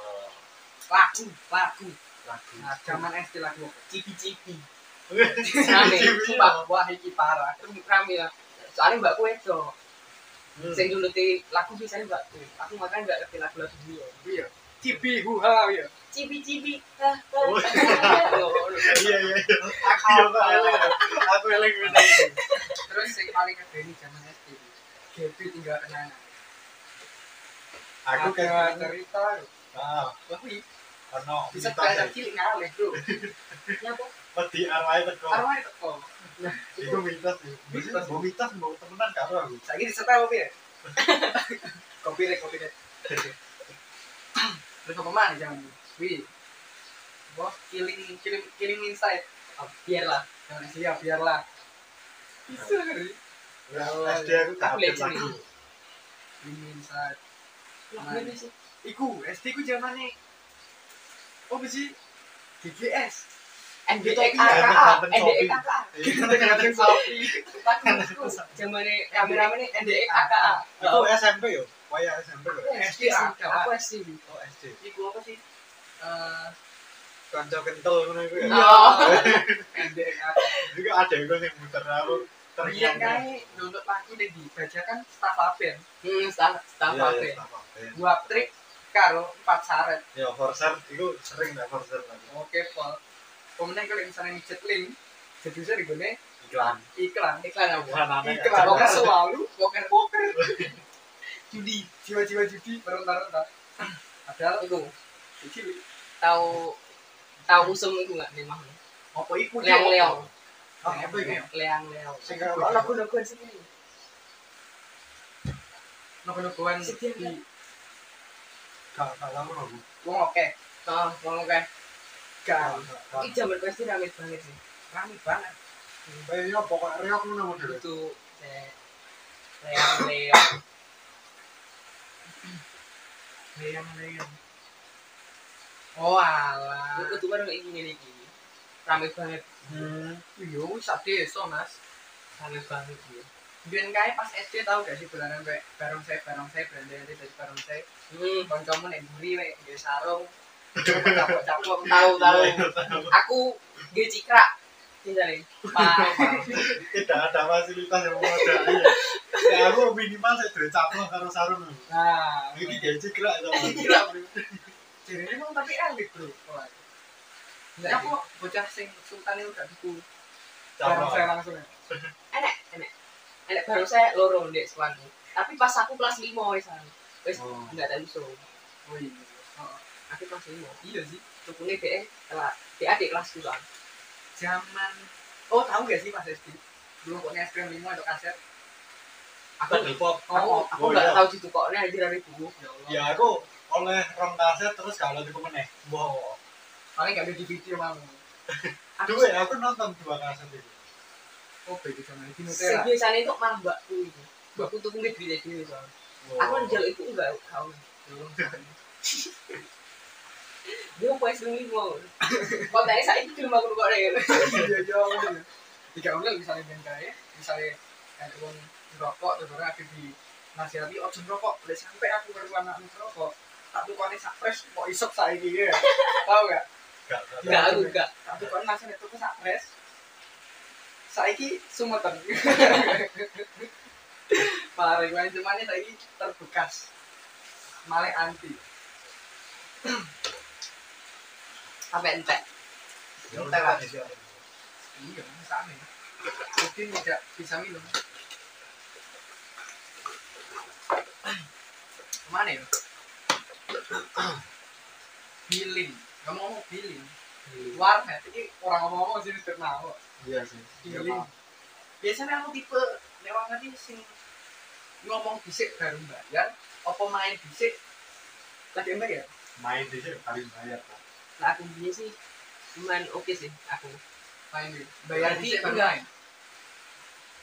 lagu, lagu
lagi
Nah, zaman SD lagi kok.
cibi-cibi
Cibi-cibi.
rame
iya.
sumpah
Wah, iki parah.
rame ya soalnya mbakku itu
Hmm.
sing nuruti lagu biasanya mbakku aku makanya nggak ngerti lagu-lagu dia
Iya. Cibi huha iya.
ya. cibi-cibi
Oh, iya iya iya aku juga eleng aku eleng bener.
Terus yang paling kedua ini zaman SD. Gaby tinggal kenangan.
aku
Ada
kayak
cerita.
ah
Tapi
karena
bisa
kita
kayak cilik ngalih, Bro.
Ya,
peti arwah teko
Arwah itu kok.
itu mitos sih
Mitos.
mau mitos mau temenan karo aku
Saiki disetel kopi ya. Kopi rek kopi rek. Terus apa mana jangan. Wi. Bos killing killing killing inside.
biarlah
Jangan siap ya, biarlah. Bisa kali.
SD aku tak update
Legend.
lagi
Killing inside.
Lagu ini sih
Iku SD ku zamane Oh, sih? GGS.
NDXA
Ganten-ganten sopi.
NDXA
Iya, Ganten-ganten sopi.
lagu zamannya rame-rame nih NDXA
itu SMP yo Oh, iya, kayak SMP yo
SD sih aku SD
oh SD
Iku apa sih? Eh,
kanca kental ngono iku ya
Ah. Nah,
Iya.
NDA.
juga ada yang sing muter aku Iya,
Rian
terngiang
Iya, kae download lagu nih dibaca kan staff aben.
hmm staff staff
Iya,
apa
iya,
ya
tak apa-apa.
Gua trik karo empat syarat.
ya forser itu sering lah forser lagi
Oke, Pol. Pemenang kalau misalnya micet link, jadi saya digone
iklan
iklan.
iklan apa
iklan aneh
Iklan poker
aja.
selalu, poker poker. judi, jiwa-jiwa judi, meronta-ronta. Padahal
itu
kecil.
tahu tahu usum itu nggak nih mah
Apa iku
leang leang
Ah, apa itu
leang leang
Sing
kok
apa?
lagu lagu sih ini
Nopo-nopoan
Sedih,
di
gak gak tahu aku
wong oke.
oh ngomong kan
Gak,
Gak
gak, gak.
ini zaman pasti rame banget sih
rame banget.
kayaknya pokoknya reok ngono model
itu eh, leang leang
Leang-leang. Oh, alah.
itu tuh baru kayak gini lagi rame banget
hmm
Iya, wis sak desa, Mas.
rame banget ya
Biyen kae pas SD tau gak sih dolanan kayak bareng saya, bareng saya, brandel dari bareng saya.
hmm
Kancamu nek mburi wek duwe sarung. Capok-capok.
tahu tahu
Iya, tahu.
aku gue cikrak misalnya pak
tidak ada fasilitas yang memadai ya. ya aku minimal saya dari caplo karo sarung lho.
Nah,
ini gaji gerak sama
gila, Bro. Jadi emang tapi elit, Bro. Wah. Ya kok bocah sing sultan itu gak diku.
caplo
Bareng saya langsung. ya.
enak enak enak baru saya loro ndek sekolah tapi pas aku kelas lima wes wes
Oh.
nggak ada usum
Oh iya. Oh,
aku kelas lima
iya sih.
Rukune E, DE kelas DA di kelas dua.
Zaman Oh, tahu gak sih Mas SD? Dulu kok es krim lima atau kaset?
Aku
Battle pop
aku aku
Oh,
nggak
iya.
tahu gitu kok nih ajaran ibu.
Ya Allah.
ya aku oleh rong kaset terus kalau di meneh wow
Paling gak ada di video mau.
Aku
dua ya, aku nonton dua kaset itu
Oh, beda sama di
sing
Nutella. Iya,
biasanya itu malah mbakku itu. Mbakku tuh nggak duit duit soalnya. Aku kan jalur ibu nggak kau.
Ya
Dia mau es lima mau. Kalau tanya saya itu di rumah aku kok deh.
Iya, iya, iya. Jika ulang misalnya ben kae, misalnya ada wong ngerokok terus ora ada di oh, nasihati ojo ngerokok, boleh sampai aku perlu anak ngerokok. Tak tukane sak fresh kok isok saiki ya. Tahu gak?
gak
Nggak aku nggak.
Tak tukane langsung itu ke sak fresh. Saiki sumeter. Parah, gue cuman saiki terbekas. Malah anti.
Sampai entek.
kita kan sih
Iya, sama. Mungkin tidak bisa minum. Kemana ya? Billing. Kamu ngomong billing. Warnet. Ini orang ngomong-ngomong sini terkenal.
iya sih
Billing. Biasanya aku tipe lewat nanti sing ngomong bisik baru bayar. Apa main bisik? Lagi ember ya?
main di sini paling bayar Pak.
Nah aku dia sih cuman oke sih aku.
Main ya? Bayar
Berarti
bisik baru
enggak.
main.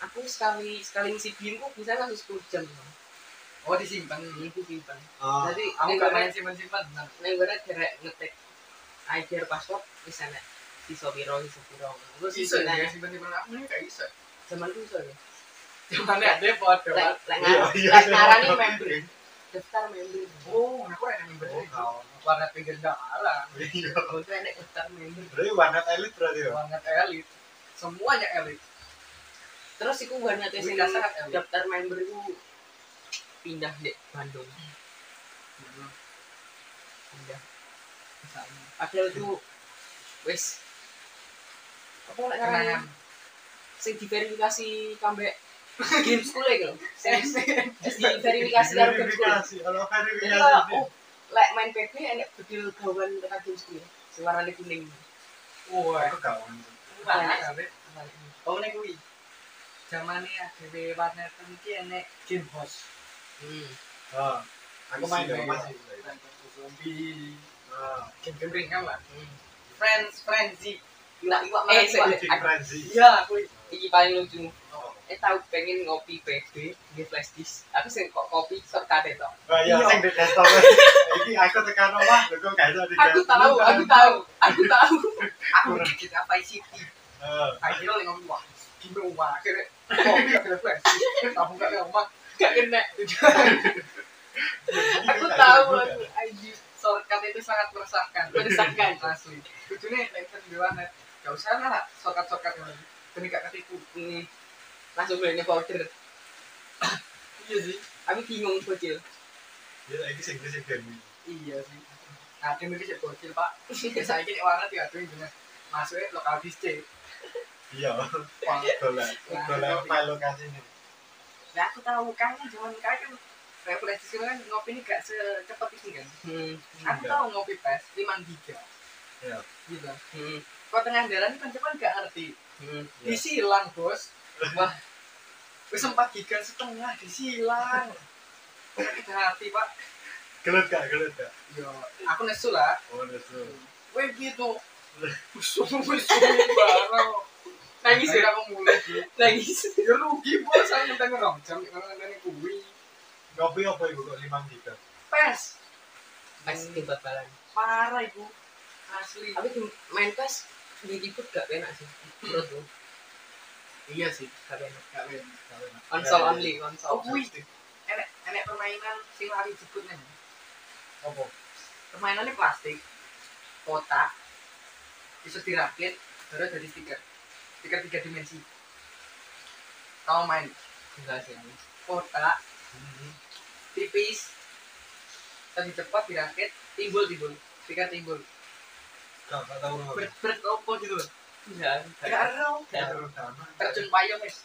Aku sekali sekali ngisi bingku bisa langsung sepuluh jam.
Oh disimpan.
Bingku simpan.
Ah,
Jadi
Aku
nek
gak
gue-
main simpan-simpan. Nah,
Nek gue derek ngetik akhir password misalnya iso piro iso piro. Terus
Iso
iso
ya
nanya
simpan-simpan aku ini gak iso.
zaman ya. itu soalnya.
Cuman ya dia foto.
Lek lek
Iya,
ngarani
iya.
lek ngarani member. Daftar member.
Oh, aku rada yang
oh
bener.
kau
warna pinggir nggak alam
Iya.
Oh,
itu enak hutan member
Berarti warnet elit berarti ya.
banget elit semuanya elit
terus iku warnet sing
Wih, dasar, Ewi.
daftar member iku pindah dek Bandung
Iya.
pindah
misalnya
padahal itu wis apa lek ngarane
kenangan
sing diverifikasi kambek game school ya sing sing diverifikasi karo game school
Verifikasi, kalau
jadi
verifikasi.
lah oh lek main PP enek bedil gawan tekan game school sing warnane kuning Iya.
wah
Aku gak mau.
Warnet.
Warnet. oh ini gue zaman ini AGW warnet ini enak game host
hmm
Ah, Aku main di rumah sih.
zombie
Ah,
game-game ringan lah friends frenzy gila gila
Eh,
malah gila
sik.
Cik Frenzy.
iya gue
iki paling lucu
Oh.
eh tau pengen ngopi PB di flash disk aku sing kok kopi shortcut itu
Oh iya,
Iya.
sing di desktop. Iki aku tekan omah, lho kok gak iso di
aku
desktop.
tahu aku tahu aku tahu
aku dikit apa isi
Ah,
akhirnya lo ngomong wah gimana rumah akhirnya kok gak ada frenzy ya, kamu gak ada rumah
gak kena
iki
aku
gak iso
tahu
dibuka.
aku anjir
shortcut itu sangat meresahkan
Meresahkan.
asli lucunya Nathan di warnet gak usah lah shortcut shortcut yang lagi demi gak ketipu
Hmm. langsung belinya powder
iya sih
aku bingung bocil
Ya iki sing sing game.
iya sih nah demi itu cek bocil pak biasanya ini warnet ya tuh gini masuknya lokal disc
Iya,
Wah,
golek golek file lokasine.
nah aku tahu kan zaman kali kan refleksi sih kan ngopi ini gak secepat ini kan
hmm.
aku
Enggak.
tahu ngopi pes lima giga
Iya.
gitu
Hmm.
kok tengah jalan kan cuman gak ngerti
Hmm.
Iya.
disilang bos
wah
wis empat giga setengah disilang sakit hati pak
Gelut gak, gelut gak.
Yo, aku nesu lah.
Oh, nesu.
Weh gitu. Musuh musuh barang.
nangis ya
aku mulai.
nangis
Ya rugi bos, saya minta ngerong jam kalau ngenteni kuwi.
Ngopi apa ibu kok 5 giga?
Pes,
pas game bal-balan
parah ibu. Asli.
tapi game- main pas di ribut gak enak sih menurutku
Iya sih,
gak enak
gak ben.
konsol
Iya.
only konsol
Oh, kuwi. Enek enek permainan sing lari jebut nih.
Apa?
Permainannya plastik, kotak, bisa dirakit, terus jadi stiker. Stiker tiga dimensi. Kamu main
enggak sih aku.
kotak,
Mm-hmm.
tipis tapi cepat dirakit timbul timbul tiga timbul
Gak gak tahu ngopi.
ber bertopo gitu loh
enggak enggak.
karo
Terus sama.
terjun payung wis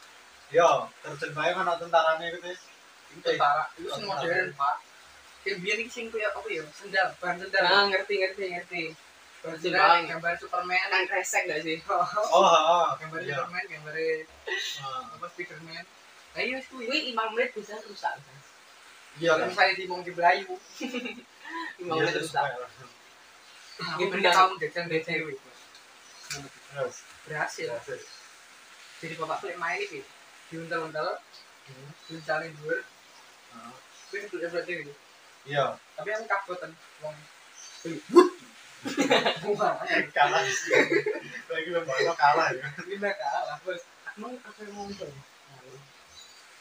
Yo, terjun bae kan ana tentarane iku Tis.
itu tentara itu sing modern pak yang biar ini sing kuya apa ya sendal bahan sendal
Ah, ngerti ngerti ngerti
bahan
betul
sendal
banget.
gambar Superman
kan kresek gak sih
Oh, oh.
gambar
Iya.
Superman gambar
Ah.
apa Spiderman nah iya wis kuwi
Wih, 5 menit bisa rusak. Kan?
Iya,
kalau misalnya di wong di Belayu
5
Iya,
menit
terus
rusak.
bae.
aku
Iya,
pernah
benar.
tahun jajan BTW
Terus.
berhasil
ya, Tis.
jadi bapak tuh yang main ini diuntel-untel
Hmm.
diuntelin dulu
Ah.
terus duduk-duduk diri
Iya,
tapi aku kagotan wong wah
kalah. Lagi lembah kalah ya.
pindah kalah bos
Emang apa yang mau ngomong?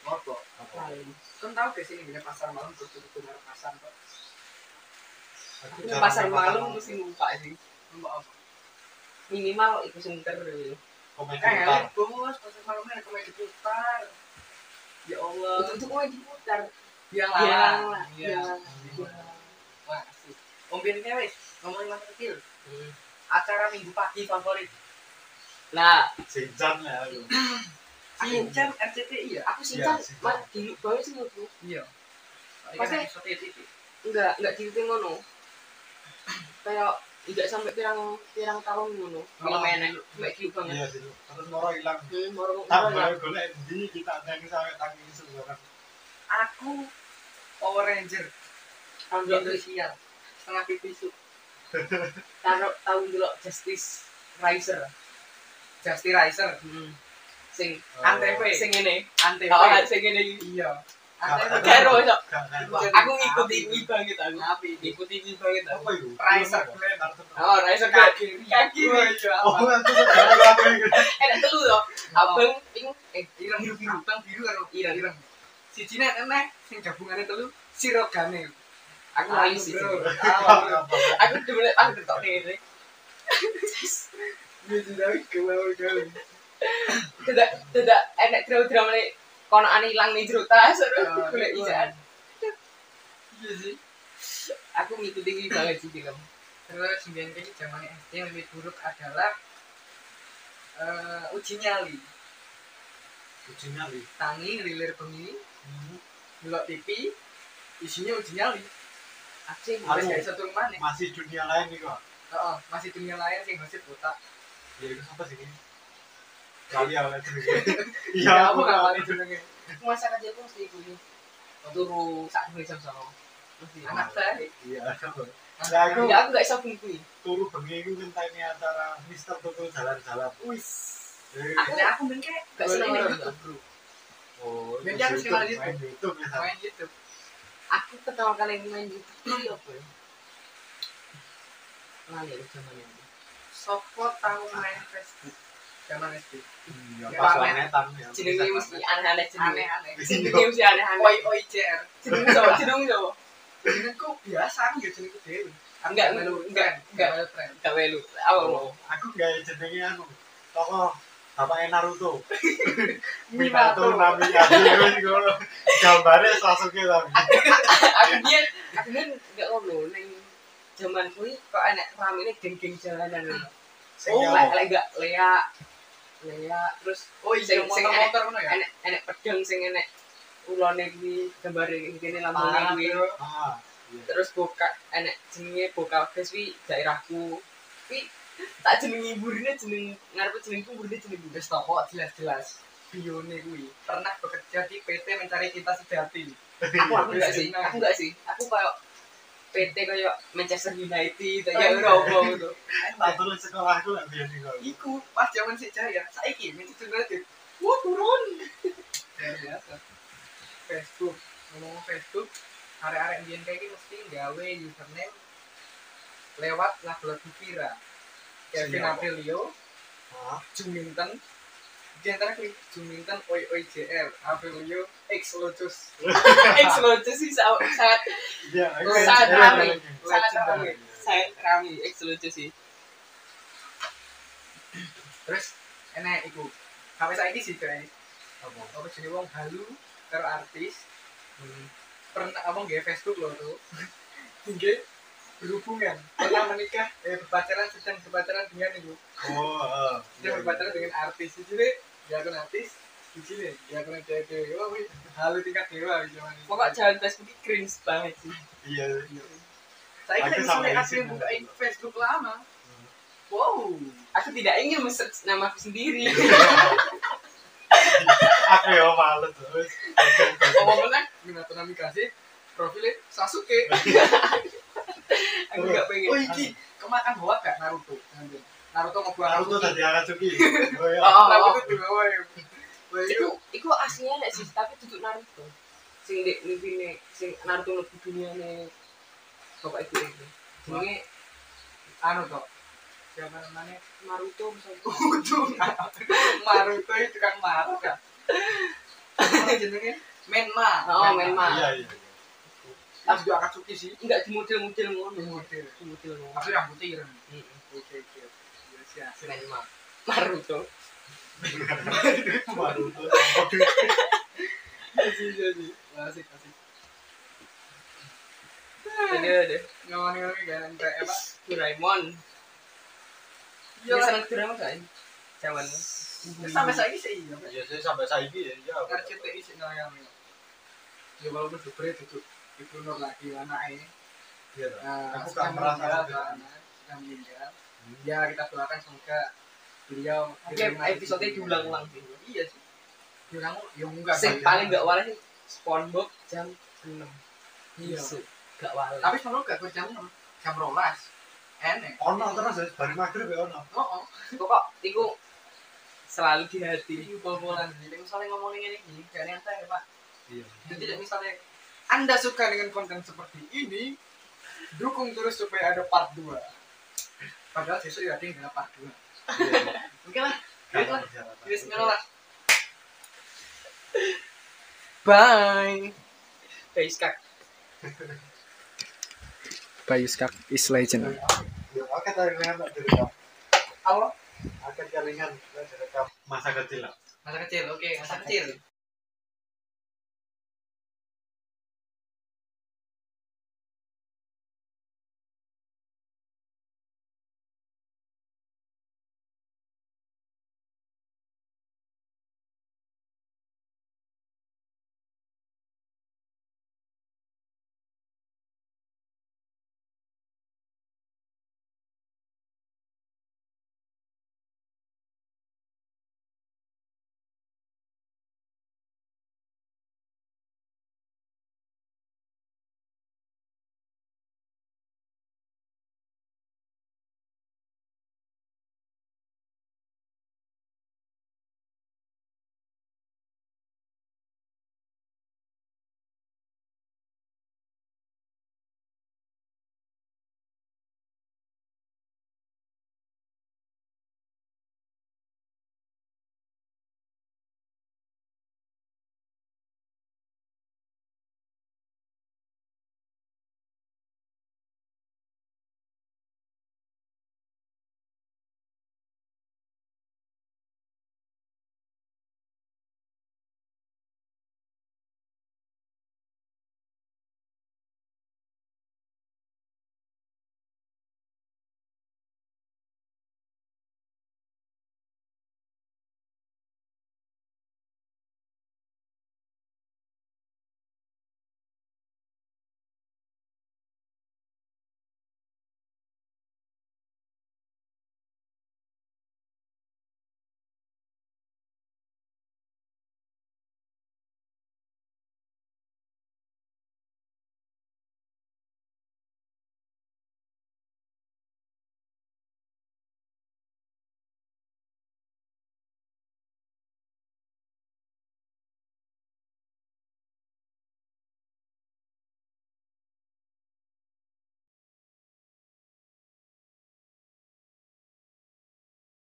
ngopo
Apa?
Lain.
kan tahu gak sih ini gini pasar malam tuh tuh tuh ngarep pasar kok
Aku
Ini
jarang
pasar
makan
malam
malam.
mesti buka sih.
nggak apa
Minimal ikut senter dulu. Eh,
Komedi
kan
putar.
ya bos pasar malamnya ada komedi putar ya allah
Untuk itu lagi putar.
biang
Bilang
lala
lah.
iya
bilang.
wah asik om Bian ini, wes ngomongin masa kecil
Hmm.
acara minggu pagi favorit
Nah,
Sincan ya. aku.
aku jam RCTI ya
aku sincan
Iya, Sincan.
mah di bawah sih menurutku.
iya
Maksudnya-
Maksudnya, RCTI
Enggak, enggak diikutin ngono. Kayak enggak sampai pirang pirang tahun ngono. Film Oh, enak, enggak gitu banget.
Iya, sih. Terus moro hilang.
Hmm, baru
Tak
baru-
boleh golek endi kita tangi sampai tangi sebenarnya.
aku Power Ranger
tahun dua ribu.
Indonesia setengah pipis
Taruh tahun dulu Justice Riser.
Justy Riser
Hmm. Sing
Eh,
Antv
sing ini.
Antv
Kalau nggak sing ini.
iya
Apa?
Antv
Karo sok.
Apa
Wah.
Aku ngikuti ini banget aku.
tapi
Ngikuti ini banget aku.
itu?
Riser Glenn.
Oh, Riser Glenn.
kaki
Kaki.
Oh, iya
Oh,
apa?
itu sekarang apa itu?
enak telu loh abang ping eh
ireng biru biru
Iya.
bang biru karo
Ireng.
ireng si Cina enak sing gabungannya telu sirogane
aku lali sih
Bro.
Cing.
Tahu.
aku dulu aku ketok diri Iya, tidak tidak enak drama drama nih kono aneh hilang nih jero tas aduh, golek ijaan.
Ah, Iya sih.
aku ngikuti ini banget sih film
Terus sembilan kali zaman SD yang lebih buruk adalah eh, uji nyali,
Kucingnya li.
tangi ngelilir bengi,
Hmm.
belok TV, isinya uji nyali.
aku sih
Wes
Aku.
dari satu rumah nih.
Masih dunia lain nih kok.
Oh, masih dunia lain sih gosip botak.
Ya itu apa sih? Kali awalnya
Ya,
Iya, aku
aku nggak
kali
paling jenenge.
masa kecilku mesti ikut turu sak dua jam sama mesti
Anak saya.
Iya, aku. Nah, aku
ya aku gak bisa bungkui
turu bengi aku ngenteni acara Mister Tutul jalan-jalan.
wis
Eh,
Aku-
Nah, aku main kayak gak seneng
Boleh,
main
boleh.
YouTube bro.
Oh,
Jadi
di
aku
situ,
sih malah gitu.
main YouTube ya.
Main YouTube.
aku pertama kali main YouTube itu apa ya lali aku zaman itu
Sopo tahu main Facebook. Zaman SD.
Iya,
Ya,
pas
main.
planetan ya.
jenenge mesti aneh-aneh jenenge
Aneh-aneh.
jenenge mesti aneh-aneh
Oi oi CR.
jenenge jawa jenenge jawa
jenengku biasa ya jenengku dewi
Enggak, enggak, enggak.
melu tren
gak melu apa mau
Oh, aku gak jenenge anu. Tokoh bapaknya Naruto.
Minato.
Minato Nami Ade ngono. Gambare Sasuke tapi.
Ah, aku dia aku kan gak ngono neng zaman kui kok enak rame ini geng-geng jalanan
Sing
oh
ya,
lek lek gak lea lea terus
oh
Sing-
iya
sing
motor-motor ngono ya
enek enek pedang sing enek ulone kuwi gambare iki kene lambene
Parah,
kuwi
bro.
Ah,
terus boka enek jenenge boka guys kuwi daerahku kuwi tak jenengi burine jeneng ngarepe jenengku burine jeneng kuwi
wis toko jelas-jelas bione kuwi pernah bekerja di PT mencari kita sejati
aku aku enggak
Wis
sih
enak.
aku enggak sih aku kayak PT kayak Manchester United
Oh,
kayak
iya.
Eropa gitu
tak turun sekolah aku lek biyen iku.
iku pas zaman si jaya saiki mencari United
wah turun
luar biasa Facebook ngomong Facebook arek-arek biyen kayak gini mesti gawe username lewat lagu-lagu Vira Kevin
Siapa?
Aprilio
Ah,
Juminten di antara klik Juminten Oi Oi JR Avelio X Lotus
ex lucu sih sa- sangat
iya, aku
Saat
jenenge
rame.
lagi.
sangat
Legend.
rame sangat rame ex lucu sih
terus enak iku sampai saat ini sih guys
Apa?
apa jenis wong halu karo artis pernah ngomong gak Facebook loh tuh tinggi berhubungan pernah menikah eh berpacaran sedang berpacaran dengan ibu
Oh, ah, iya,
sedang berpacaran dengan artis di sini dia aku artis di sini dia aku nanti dewa wih halu tingkat dewa zaman ini
pokok jalan Facebook ini cringe banget sih
Iya.
saya
Aku
kira
sama
misalnya
ini
asli
sih,
buka
bener.
Facebook lama wow
aku tidak ingin men-search nama aku sendiri
Aku ya males terus.
Ngomong-ngomong kan Minato Nami kasih profilnya Sasuke.
Iya.
aku nggak pengen
Oh iki kemakan hoak gak Naruto? Naruto ngebuang
Naruto tadi Akatsuki. Oh iya.
Oh,
Naruto dibawa ya.
Iku,
Bayu
iku aslinya nek sih, tapi duduk Naruto. Sing dek mimpine, sing Naruto lebih dunia ne bapak ibu ini. Jenenge
anu toh. Siapa namanya?
Naruto misalnya.
Kudu. Naruto itu tukang maruk kan. Apa Jenenge Menma.
Oh, Menma.
Iya, iya.
Aku juga Akatsuki sih.
Enggak di model-model ngono.
Model.
Di model ngono.
Aku yang putih ireng.
Heeh.
Oke oke. Ya, siap.
Menma. Naruto.
Naruto.
Iya,
Wah, Asik asik.
Jadi ada
Ngomong-ngomong gak entek apa?
Doraemon.
Iya.
Iya. Seneng Doraemon kan? Zaman. Hmm.
Sampai saiki sih iya. Pak.
Iya, saya sampai saiki ya. iya.
RCTI sih ngayami ya walaupun dubere duduk ibu nur lagi anaknya
Iya. toh.
nah,
Aku
sudah
gak merasa
meninggal
seperti
soalnya,
itu.
sudah meninggal ya kita doakan semoga beliau
Oke, episode diulang-ulang sih.
iya sih diulang ya enggak
Sing
sih.
paling gak waras sih SpongeBob jam 6.
iya
Besok. Gak waras.
tapi sebenarnya enggak gue jam enam, jam rolas enek
Ono terus ya, baru maghrib ya ono.
oh oh
pokok iku selalu di hati.
jadi bol-bolan jadi misalnya ngomongin ini gak ada yang tahu ya pak
Iya.
Jadi misalnya Anda suka dengan konten seperti ini, dukung terus supaya ada part 2. Padahal besok ya ada yang ada part 2. Oke lah, baik lah. Bismillah.
Bye. Face card.
Bayus Kak is legend.
Ya, akan keringan tak direkam.
Apa?
Akan keringan tak direkam. Masa kecil lah.
Masa kecil, oke, masa kecil.